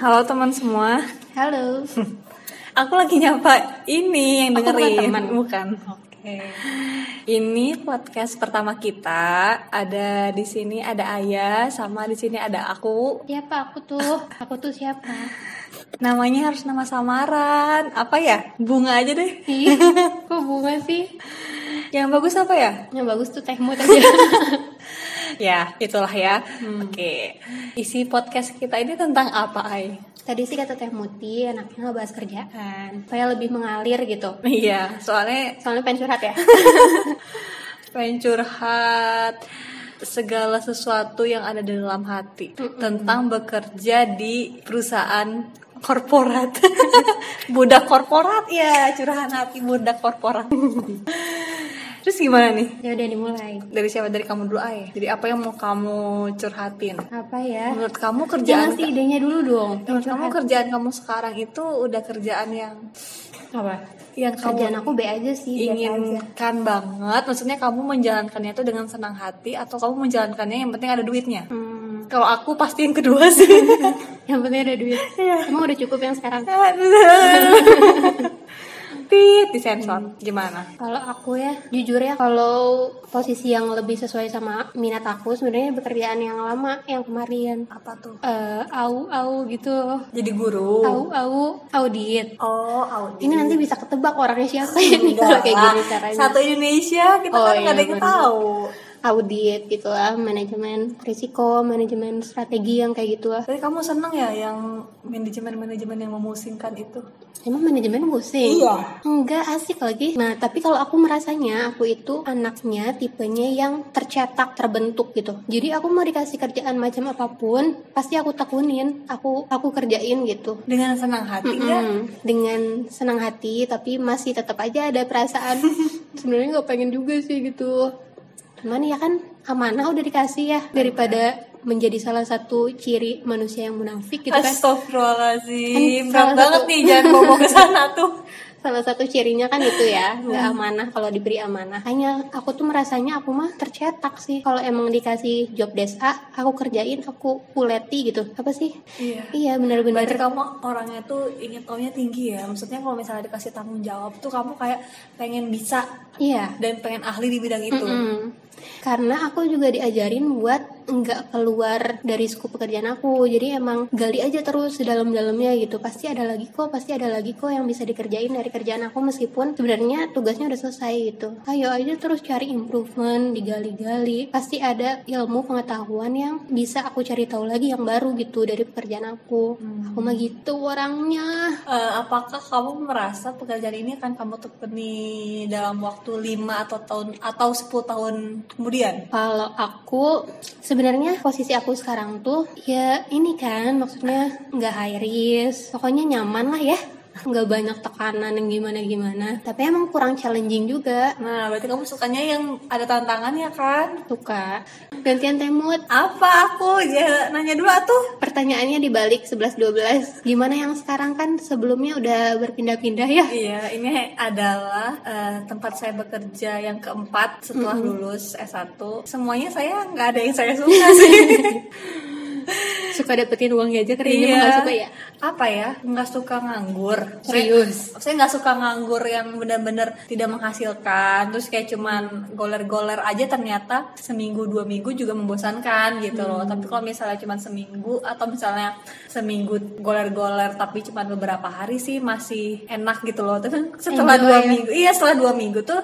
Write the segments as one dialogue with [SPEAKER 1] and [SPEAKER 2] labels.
[SPEAKER 1] Halo teman semua.
[SPEAKER 2] Halo.
[SPEAKER 1] Aku lagi nyapa ini yang
[SPEAKER 2] bukan
[SPEAKER 1] dengerin.
[SPEAKER 2] teman.
[SPEAKER 1] bukan.
[SPEAKER 2] Oke.
[SPEAKER 1] Ini podcast pertama kita. Ada di sini ada Ayah sama di sini ada aku.
[SPEAKER 2] Siapa Ya, aku tuh? Aku tuh siapa?
[SPEAKER 1] Namanya harus nama samaran. Apa ya? Bunga aja deh.
[SPEAKER 2] Ih, kok bunga sih?
[SPEAKER 1] Yang bagus apa ya?
[SPEAKER 2] Yang bagus tuh tehmu tadi.
[SPEAKER 1] Ya, itulah ya. Oke. Isi podcast kita ini tentang apa, Ay?
[SPEAKER 2] tadi sih kata Teh Muti enaknya ngebahas kerjaan supaya lebih mengalir gitu.
[SPEAKER 1] Iya, soalnya
[SPEAKER 2] Soalnya pengen curhat ya.
[SPEAKER 1] pengen curhat segala sesuatu yang ada di dalam hati tentang bekerja di perusahaan korporat budak korporat ya curahan hati budak korporat terus gimana nih
[SPEAKER 2] ya udah dimulai.
[SPEAKER 1] dari siapa dari kamu dulu ay jadi apa yang mau kamu curhatin
[SPEAKER 2] Apa ya?
[SPEAKER 1] menurut kamu
[SPEAKER 2] Jangan
[SPEAKER 1] kerjaan
[SPEAKER 2] sih idenya dulu dong.
[SPEAKER 1] menurut kamu kerjaan kamu sekarang itu udah kerjaan yang
[SPEAKER 2] Apa?
[SPEAKER 1] yang kamu
[SPEAKER 2] Kerjaan aku B aja sih, Iya, biasa aja.
[SPEAKER 1] inginkan banget maksudnya kamu menjalankannya itu dengan senang hati atau kamu menjalankannya yang penting ada duitnya
[SPEAKER 2] Hmm,
[SPEAKER 1] kalau aku pasti yang kedua sih
[SPEAKER 2] yang penting ada duit. Emang udah cukup yang sekarang?
[SPEAKER 1] tit di sensor gimana
[SPEAKER 2] Kalau aku ya, jujur ya, kalau posisi yang lebih sesuai sama minat aku sebenarnya pekerjaan yang lama, yang kemarin.
[SPEAKER 1] apa tuh
[SPEAKER 2] eh au au gitu,
[SPEAKER 1] jadi guru
[SPEAKER 2] au au audit.
[SPEAKER 1] oh audit
[SPEAKER 2] Ini nanti bisa ketebak orangnya siapa ini kalau kayak gini caranya.
[SPEAKER 1] satu Indonesia kita
[SPEAKER 2] Oh,
[SPEAKER 1] kan nggak
[SPEAKER 2] iya,
[SPEAKER 1] ada yang
[SPEAKER 2] bener.
[SPEAKER 1] tahu
[SPEAKER 2] Audit gitulah, manajemen risiko, manajemen strategi yang kayak gitu lah.
[SPEAKER 1] tapi kamu seneng ya yang manajemen manajemen yang memusingkan itu
[SPEAKER 2] Emang manajemen pusing?
[SPEAKER 1] Iya.
[SPEAKER 2] Enggak asik lagi. Nah, tapi kalau aku merasanya aku itu anaknya tipenya yang tercetak, terbentuk gitu. Jadi aku mau dikasih kerjaan macam apapun, pasti aku tekunin, aku aku kerjain gitu.
[SPEAKER 1] dengan senang hati nggak?
[SPEAKER 2] Hmm, dengan senang hati tapi masih tetap aja ada perasaan sebenarnya nggak pengen juga sih gitu cuman ya kan amanah udah dikasih ya daripada menjadi salah satu ciri manusia yang munafik gitu kan
[SPEAKER 1] Astagfirullahaladzim Berat
[SPEAKER 2] Kan salah
[SPEAKER 1] banget
[SPEAKER 2] satu-
[SPEAKER 1] nih Jangan bawa ke sana tuh
[SPEAKER 2] salah satu cirinya kan itu ya nggak amanah kalau diberi amanah hanya aku tuh merasanya aku mah tercetak sih kalau emang dikasih job desk A aku kerjain aku kuleti gitu apa sih
[SPEAKER 1] Iya
[SPEAKER 2] iya
[SPEAKER 1] Berarti
[SPEAKER 2] benar-benar
[SPEAKER 1] kamu orangnya tuh ingin taunya tinggi ya Maksudnya kalau misalnya dikasih tanggung jawab tuh Kamu kayak pengen bisa
[SPEAKER 2] iya
[SPEAKER 1] Dan pengen ahli di bidang itu
[SPEAKER 2] Mm-mm. karena aku juga diajarin buat nggak keluar dari skup pekerjaan aku jadi emang gali aja terus dalam-dalamnya gitu pasti ada lagi kok pasti ada lagi kok yang bisa dikerjain dari kerjaan aku meskipun sebenarnya tugasnya udah selesai gitu ayo aja terus cari improvement digali-gali pasti ada ilmu pengetahuan yang bisa aku cari tahu lagi yang baru gitu dari pekerjaan aku aku mah gitu orangnya
[SPEAKER 1] Eh, Apakah kamu merasa pekerjaan ini akan kamu tekuni Dalam waktu 5 atau tahun Atau 10 tahun kemudian
[SPEAKER 2] Kalau aku sebenarnya posisi aku sekarang tuh ya ini kan maksudnya nggak high risk, pokoknya nyaman lah ya, nggak banyak tekanan yang gimana gimana. Tapi emang kurang challenging juga,
[SPEAKER 1] Nah berarti kamu sukanya yang ada tantangannya kan
[SPEAKER 2] suka. Gantian temut.
[SPEAKER 1] Apa aku ya nanya dulu tuh
[SPEAKER 2] Pertanyaannya dibalik 11-12 Gimana yang sekarang kan sebelumnya udah berpindah-pindah ya
[SPEAKER 1] Iya, ini adalah eh, tempat saya bekerja yang keempat setelah lulus S1. Semuanya saya nggak ada yang saya suka sih.
[SPEAKER 2] Suka dapetin uangnya aja kerjanya mah nggak suka ya
[SPEAKER 1] Apa ya? Nggak suka nganggur. Saya-
[SPEAKER 2] Serius
[SPEAKER 1] Saya nggak suka nganggur yang benar-benar tidak menghasilkan. Terus kayak cuman goler-goler aja ternyata seminggu dua minggu juga membosankan gitu loh.
[SPEAKER 2] Hmm.
[SPEAKER 1] Tapi kalau misalnya cuman seminggu atau misalnya seminggu goler-goler tapi cuman beberapa hari sih masih enak gitu loh. Tapi setelah
[SPEAKER 2] Enjoy
[SPEAKER 1] dua
[SPEAKER 2] ya.
[SPEAKER 1] minggu, iya setelah dua minggu tuh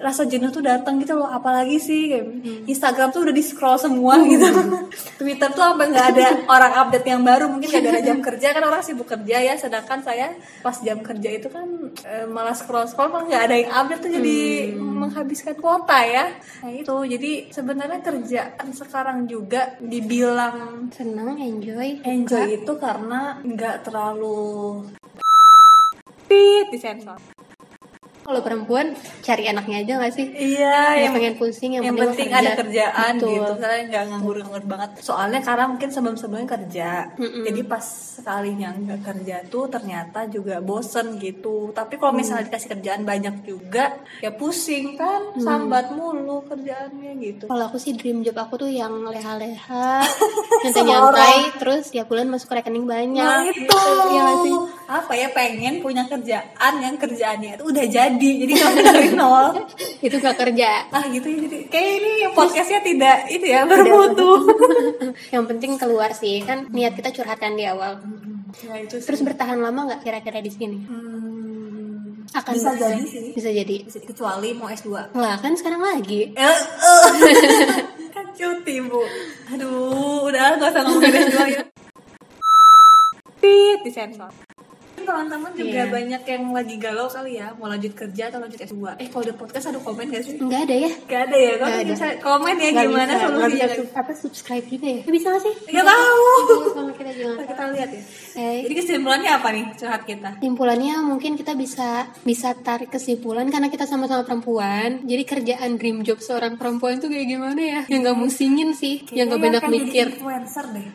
[SPEAKER 1] rasa jenuh tuh datang gitu loh apalagi sih kayak Instagram tuh udah di scroll semua gitu Twitter tuh sampai nggak ada orang update yang baru mungkin gak ada jam kerja kan orang sibuk kerja ya sedangkan saya pas jam kerja itu kan eh, malah scroll scroll malah nggak ada yang update tuh jadi menghabiskan kuota ya nah itu jadi sebenarnya kerjaan sekarang juga dibilang
[SPEAKER 2] Senang, enjoy
[SPEAKER 1] enjoy itu karena nggak terlalu pit di sensor
[SPEAKER 2] kalau perempuan cari anaknya aja gak sih?
[SPEAKER 1] Iya,
[SPEAKER 2] yang pengen pusing, yang
[SPEAKER 1] yang, penting,
[SPEAKER 2] penting mau
[SPEAKER 1] ada
[SPEAKER 2] kerja.
[SPEAKER 1] kerjaan
[SPEAKER 2] Betul.
[SPEAKER 1] gitu. Misalnya nggak nganggur-nganggur banget. Soalnya karena mungkin sebelum-sebelumnya kerja,
[SPEAKER 2] Mm-mm.
[SPEAKER 1] jadi pas sekalinya nggak kerja tuh ternyata juga bosen gitu. Tapi kalau
[SPEAKER 2] Mm.
[SPEAKER 1] misalnya dikasih kerjaan banyak juga, ya pusing kan, sambat mulu kerjaannya gitu.
[SPEAKER 2] Kalau aku sih dream job aku tuh yang leha-leha,
[SPEAKER 1] Semua orang.
[SPEAKER 2] nyantai-nyantai, terus tiap bulan masuk rekening banyak.
[SPEAKER 1] Nah itu
[SPEAKER 2] Ya Iya gak sih?
[SPEAKER 1] apa ya pengen punya kerjaan yang kerjaannya itu udah jadi, jadi kalau dari nol.
[SPEAKER 2] Itu gak kerja.
[SPEAKER 1] Ah gitu ya jadi kayak ini podcastnya tidak itu ya bermutu.
[SPEAKER 2] yang penting keluar sih kan niat kita curhatkan di awal.
[SPEAKER 1] ya itu sih.
[SPEAKER 2] Terus bertahan lama nggak kira-kira di sini?
[SPEAKER 1] Hmm,
[SPEAKER 2] Akan
[SPEAKER 1] bisa
[SPEAKER 2] bertahan.
[SPEAKER 1] jadi sih.
[SPEAKER 2] Bisa jadi.
[SPEAKER 1] Bisa- kecuali mau S2
[SPEAKER 2] Lah kan sekarang lagi.
[SPEAKER 1] Eh, eh. kan cuti bu aduh udah nggak usah ngomongin S2 ya fit disensor Mungkin teman-teman juga
[SPEAKER 2] Iya.
[SPEAKER 1] banyak yang lagi galau kali ya mau lanjut kerja atau lanjut S2 eh kalau udah podcast ada komen gak sih?
[SPEAKER 2] Enggak ada ya?
[SPEAKER 1] gak ada ya
[SPEAKER 2] Nggak
[SPEAKER 1] kalau
[SPEAKER 2] ada.
[SPEAKER 1] bisa komen ya
[SPEAKER 2] Nggak
[SPEAKER 1] gimana
[SPEAKER 2] bisa, nggak
[SPEAKER 1] solusinya
[SPEAKER 2] bisa sub- apa subscribe juga ya? Eh, Bisa nggak sih?
[SPEAKER 1] gak tahu
[SPEAKER 2] Sama kita
[SPEAKER 1] Ntar
[SPEAKER 2] jangan.
[SPEAKER 1] kita lihat ya
[SPEAKER 2] Eh,
[SPEAKER 1] jadi kesimpulannya apa nih curhat kita
[SPEAKER 2] Kesimpulannya mungkin kita bisa bisa tarik kesimpulan karena kita sama-sama perempuan. Jadi kerjaan dream job seorang perempuan tuh kayak gimana ya? Yang nggak musingin sih, yang
[SPEAKER 1] Kayaknya
[SPEAKER 2] nggak banyak
[SPEAKER 1] akan jadi
[SPEAKER 2] mikir.
[SPEAKER 1] influencer deh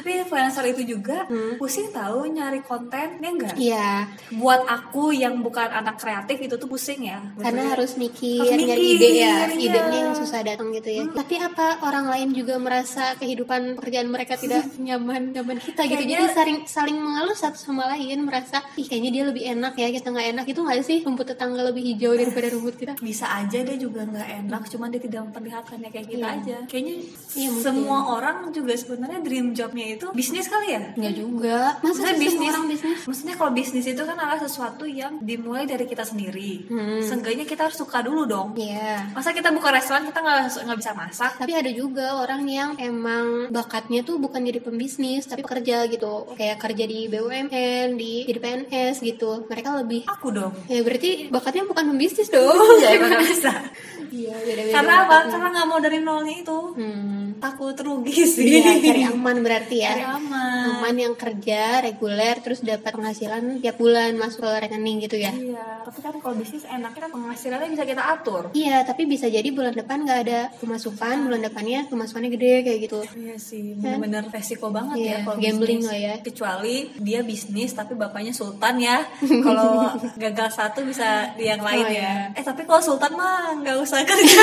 [SPEAKER 1] tapi influencer itu juga pusing tahu nyari konten ya enggak
[SPEAKER 2] Hmm. Iya,
[SPEAKER 1] buat aku yang bukan anak kreatif itu tuh pusing ya
[SPEAKER 2] karena harus mikir,
[SPEAKER 1] Harus
[SPEAKER 2] nyari
[SPEAKER 1] mikir,
[SPEAKER 2] ide ya,
[SPEAKER 1] iya. Hmm.
[SPEAKER 2] idenya yang susah datang gitu ya. Tapi apa orang lain juga merasa kehidupan pekerjaan mereka tidak nyaman nyaman kita gitu? Jadi
[SPEAKER 1] Kayaknya-
[SPEAKER 2] saling saling mengeluh satu sama lain merasa, ih kayaknya dia lebih enak ya kita nggak enak itu nggak sih? Rumput tetangga lebih hijau daripada rumput kita.
[SPEAKER 1] bisa aja dia juga nggak enak cuman dia tidak memperlihatkannya kayak kita
[SPEAKER 2] Iya.
[SPEAKER 1] aja kayaknya
[SPEAKER 2] Iya, mungkin.
[SPEAKER 1] semua orang juga sebenarnya dream jobnya itu bisnis kali ya
[SPEAKER 2] Nggak juga. Iya. Masa
[SPEAKER 1] Maksudnya
[SPEAKER 2] sih semua
[SPEAKER 1] bisnis,
[SPEAKER 2] orang bisnis?
[SPEAKER 1] maksudnya kalau bisnis itu kan adalah sesuatu yang dimulai dari kita sendiri.
[SPEAKER 2] Hmm.
[SPEAKER 1] Seenggaknya kita harus suka dulu dong.
[SPEAKER 2] Iya.
[SPEAKER 1] Masa kita buka restoran kita nggak nggak bisa masak?
[SPEAKER 2] Tapi ada juga orang yang emang bakatnya tuh bukan jadi pembisnis, tapi pekerja gitu. Kayak kerja di BUMN, di jadi PNS gitu. Mereka lebih
[SPEAKER 1] Aku dong.
[SPEAKER 2] Ya berarti bakatnya bukan pembisnis dong.
[SPEAKER 1] ya emang nggak bisa.
[SPEAKER 2] Oh, Iya, beda-beda.
[SPEAKER 1] Karena apa?
[SPEAKER 2] bakatnya.
[SPEAKER 1] Karena nggak mau dari nolnya itu.
[SPEAKER 2] Hmm.
[SPEAKER 1] Takut rugi sih. Iya.
[SPEAKER 2] Iya, cari aman berarti ya.
[SPEAKER 1] Cari aman.
[SPEAKER 2] Aman yang kerja reguler terus dapat penghasilan tiap bulan masuk ke rekening gitu ya.
[SPEAKER 1] Iya, tapi kan kalau bisnis enaknya kan penghasilannya bisa kita atur.
[SPEAKER 2] Iya, tapi bisa jadi bulan depan nggak ada pemasukan, bulan depannya pemasukannya gede kayak gitu.
[SPEAKER 1] Iya sih, bener-bener resiko banget
[SPEAKER 2] Iya,
[SPEAKER 1] ya kalau
[SPEAKER 2] gambling
[SPEAKER 1] bisnis.
[SPEAKER 2] lah ya.
[SPEAKER 1] Kecuali dia bisnis tapi bapaknya sultan ya. Kalau gagal satu bisa di yang lain
[SPEAKER 2] Oh,
[SPEAKER 1] ya.
[SPEAKER 2] iya.
[SPEAKER 1] Eh tapi kalau sultan mah nggak usah kerja.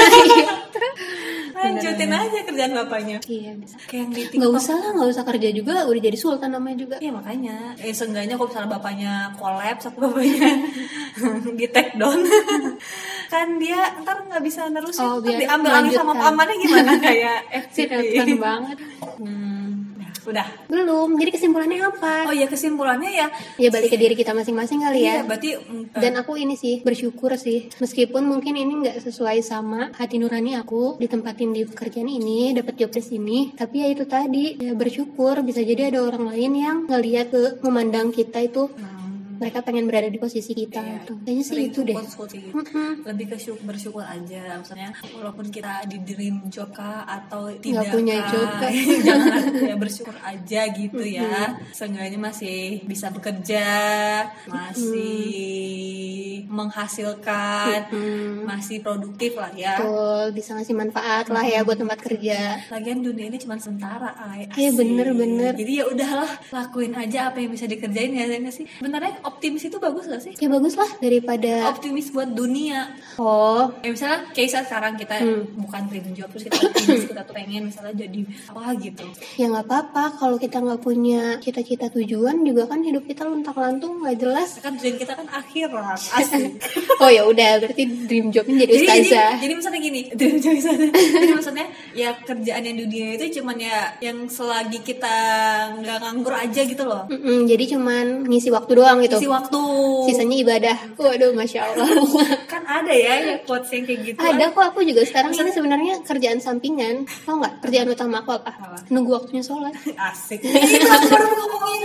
[SPEAKER 1] Lanjutin aja kerjaan bapaknya.
[SPEAKER 2] Iya, bisa.
[SPEAKER 1] Kayak yang di
[SPEAKER 2] Nggak
[SPEAKER 1] TikTok.
[SPEAKER 2] usah lah, nggak usah kerja juga, udah jadi sultan namanya juga.
[SPEAKER 1] Iya makanya. Eh seenggaknya kalau misalnya bapaknya collab sama bapaknya di take down. kan dia ntar nggak bisa nerusin.
[SPEAKER 2] Oh,
[SPEAKER 1] Ntar
[SPEAKER 2] biar
[SPEAKER 1] diambil lagi sama
[SPEAKER 2] melanjutkan.
[SPEAKER 1] pamannya gimana kayak
[SPEAKER 2] Sinetron
[SPEAKER 1] FTV.
[SPEAKER 2] banget. Hmm.
[SPEAKER 1] Nah, udah.
[SPEAKER 2] Belum, jadi kesimpulannya
[SPEAKER 1] Oh
[SPEAKER 2] apa?
[SPEAKER 1] iya kesimpulannya ya.
[SPEAKER 2] Ya balik ke diri kita masing-masing kali ya.
[SPEAKER 1] Iya, berarti mm, eh,
[SPEAKER 2] Dan aku ini sih bersyukur sih meskipun mungkin ini nggak sesuai sama hati nurani aku ditempatin di pekerjaan ini dapat job di sini tapi ya itu tadi ya bersyukur bisa jadi ada orang lain yang ngelihat ke memandang kita itu mereka pengen berada di posisi kita
[SPEAKER 1] Iya.
[SPEAKER 2] gitu. kayaknya sih
[SPEAKER 1] sering
[SPEAKER 2] itu deh
[SPEAKER 1] quotes-quotes kayak gitu.
[SPEAKER 2] Mm-mm.
[SPEAKER 1] lebih ke syukur, bersyukur aja maksudnya walaupun kita di dream job kah atau tidak
[SPEAKER 2] Nggak punya
[SPEAKER 1] kah,
[SPEAKER 2] job kah.
[SPEAKER 1] jangan ya bersyukur aja gitu ya seenggaknya masih bisa bekerja masih menghasilkan
[SPEAKER 2] Mm-mm.
[SPEAKER 1] masih produktif lah ya
[SPEAKER 2] Hmm, Betul, bisa ngasih manfaat lah ya buat tempat kerja
[SPEAKER 1] Lagian dunia ini cuma sementara, ay.
[SPEAKER 2] Iya,
[SPEAKER 1] Asik.
[SPEAKER 2] bener, bener.
[SPEAKER 1] Jadi ya udahlah, lakuin aja apa yang bisa dikerjain ya, Zainnya sih. Sebenarnya optimis itu bagus gak sih?
[SPEAKER 2] ya bagus lah daripada
[SPEAKER 1] Optimis buat dunia.
[SPEAKER 2] oh
[SPEAKER 1] Ya misalnya kayak saat sekarang kita
[SPEAKER 2] Hmm.
[SPEAKER 1] bukan dream job terus kita optimis kita tuh pengen misalnya jadi apa gitu.
[SPEAKER 2] ya nggak apa-apa kalau kita nggak punya cita-cita tujuan juga kan hidup kita luntak-lantung nggak jelas
[SPEAKER 1] Kan dream kita kan akhirat, asik.
[SPEAKER 2] Oh ya udah, berarti dream jobnya jadi
[SPEAKER 1] jadi, jadi,
[SPEAKER 2] ustazah.
[SPEAKER 1] jadi misalnya gini, dream job misalnya. jadi maksudnya ya kerjaan yang di dunia itu cuman ya yang selagi kita nggak nganggur aja gitu loh.
[SPEAKER 2] Mm-mm, jadi cuman ngisi waktu doang gitu.
[SPEAKER 1] Isi waktu.
[SPEAKER 2] Sisanya ibadah. Waduh, masya Allah.
[SPEAKER 1] Kan ada ya yang quotes yang kayak gitu.
[SPEAKER 2] Iya. Ada kok aku juga sekarang ini sebenarnya kerjaan sampingan. Tau nggak kerjaan utama aku apa?
[SPEAKER 1] Apa?
[SPEAKER 2] Nunggu waktunya sholat.
[SPEAKER 1] Asik. Itu aku baru mau ngomongin.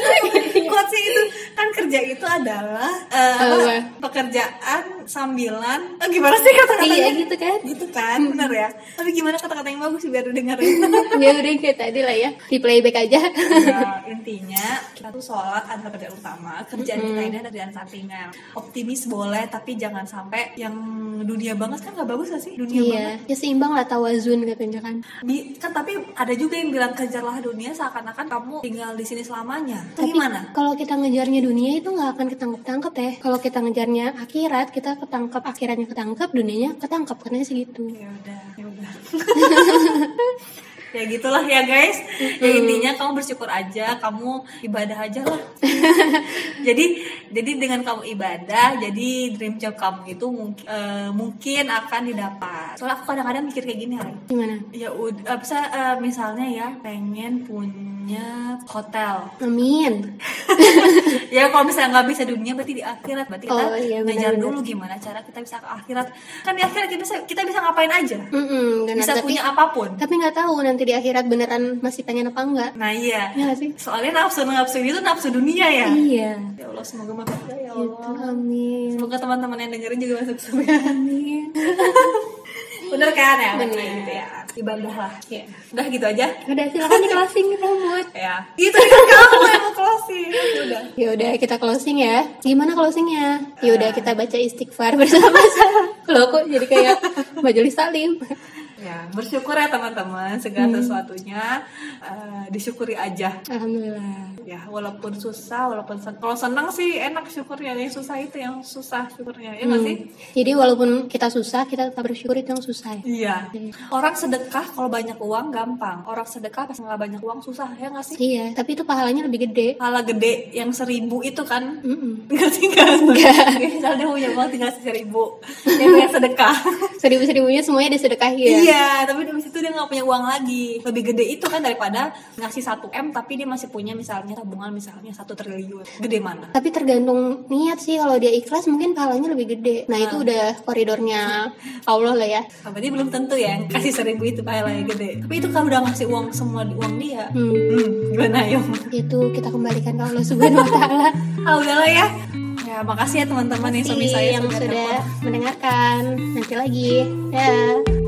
[SPEAKER 1] kuat sih itu kan kerja itu adalah eh, apa,
[SPEAKER 2] Apa?
[SPEAKER 1] pekerjaan sambilan Eh, gimana sih kata-katanya
[SPEAKER 2] Iya gitu kan.
[SPEAKER 1] gitu kan bener ya tapi gimana kata-kata yang bagus biar dengerin
[SPEAKER 2] ya udah kayak tadi lah ya di playback aja
[SPEAKER 1] Ya, intinya kita tuh sholat adalah kerjaan utama kerjaan kita ini adalah kerjaan sampingan optimis boleh tapi jangan sampai yang dunia banget kan nggak bagus gak sih dunia banget
[SPEAKER 2] iya ya seimbang lah tawazun katanya kan
[SPEAKER 1] Bi- kan tapi ada juga yang bilang kejarlah dunia seakan-akan kamu tinggal di sini selamanya itu
[SPEAKER 2] Tapi
[SPEAKER 1] gimana
[SPEAKER 2] kalau kita ngejarnya dunia itu nggak akan ketangkep-tangkep ya. Kalau kita ngejarnya akhirat, kita ketangkep akhiratnya ketangkep, dunianya ketangkep katanya segitu.
[SPEAKER 1] ya udah ya udah ya gitulah ya guys ya
[SPEAKER 2] Hmm.
[SPEAKER 1] intinya kamu bersyukur aja kamu ibadah aja lah jadi jadi dengan kamu ibadah jadi dream job kamu itu mungkin mungkin akan didapat soalnya aku kadang-kadang mikir kayak gini Rai.
[SPEAKER 2] Gimana?
[SPEAKER 1] ya udah apa sih, eh, misalnya ya pengen punya hotel
[SPEAKER 2] Amin.
[SPEAKER 1] ya kalau misalnya nggak bisa dunia berarti di akhirat berarti kita
[SPEAKER 2] Oh, iya,
[SPEAKER 1] ngejar
[SPEAKER 2] benar-benar.
[SPEAKER 1] dulu gimana cara kita bisa ke akhirat kan di akhirat kita bisa kita bisa ngapain aja
[SPEAKER 2] Mm-mm, benar.
[SPEAKER 1] bisa
[SPEAKER 2] tapi
[SPEAKER 1] punya apapun
[SPEAKER 2] tapi nggak tahu nanti di akhirat beneran masih pengen apa enggak?
[SPEAKER 1] nah iya
[SPEAKER 2] Iya nggak sih?
[SPEAKER 1] soalnya nafsu nafsu itu nafsu dunia ya
[SPEAKER 2] Iya.
[SPEAKER 1] ya Allah semoga masuk surga ya
[SPEAKER 2] Gitu,
[SPEAKER 1] Allah
[SPEAKER 2] amin.
[SPEAKER 1] semoga teman-teman yang dengerin juga masuk surga
[SPEAKER 2] Amin.
[SPEAKER 1] bener kan ya
[SPEAKER 2] Bener.
[SPEAKER 1] Kayak gitu ya ibadah lah udah gitu aja
[SPEAKER 2] Udah silakan di closing kita buat.
[SPEAKER 1] ya gitu kan kamu yang mau closing udah
[SPEAKER 2] Ya udah kita closing ya. Gimana closingnya? Ya udah kita baca istighfar bersama-sama. Loh kok jadi kayak majelis salim.
[SPEAKER 1] ya bersyukur ya teman-teman segala sesuatunya eh, disyukuri aja
[SPEAKER 2] Alhamdulillah.
[SPEAKER 1] ya walaupun susah walaupun sen- kalau senang sih enak syukurnya yang susah itu yang susah syukurnya ya nggak sih
[SPEAKER 2] Hmm. Jadi walaupun kita susah, kita tetap bersyukur itu yang susah ya.
[SPEAKER 1] iya orang sedekah kalau banyak uang gampang orang sedekah pas nggak banyak uang susah ya nggak sih
[SPEAKER 2] Iya, tapi itu pahalanya lebih gede.
[SPEAKER 1] pala gede yang seribu itu kan
[SPEAKER 2] Mm-mm.
[SPEAKER 1] ngerti nggak Ya, misalnya dia punya uang tinggal seribu dia pengen sedekah
[SPEAKER 2] Seribu-seribunya semuanya disedekahin ya.
[SPEAKER 1] Iya, tapi di situ dia nggak punya uang lagi. Lebih gede itu kan daripada ngasih 1 m tapi dia masih punya misalnya tabungan misalnya satu triliun. Gede mana?
[SPEAKER 2] Tapi tergantung niat sih, kalau dia ikhlas mungkin pahalanya lebih gede. Nah itu udah koridornya Allah lah ya.
[SPEAKER 1] Ah, Berarti belum tentu ya yang kasih seribu itu pahalanya gede. Tapi itu kalau udah ngasih uang semua uang dia.
[SPEAKER 2] Hmm,
[SPEAKER 1] Hmm, gimana yuk?
[SPEAKER 2] itu kita kembalikan ke Allah Subhanahu Wa Taala.
[SPEAKER 1] Ah udahlah ya. Ya makasih ya teman-teman yang suami saya
[SPEAKER 2] yang
[SPEAKER 1] sudah
[SPEAKER 2] sudah
[SPEAKER 1] telepon.
[SPEAKER 2] mendengarkan. Nanti lagi. Dah.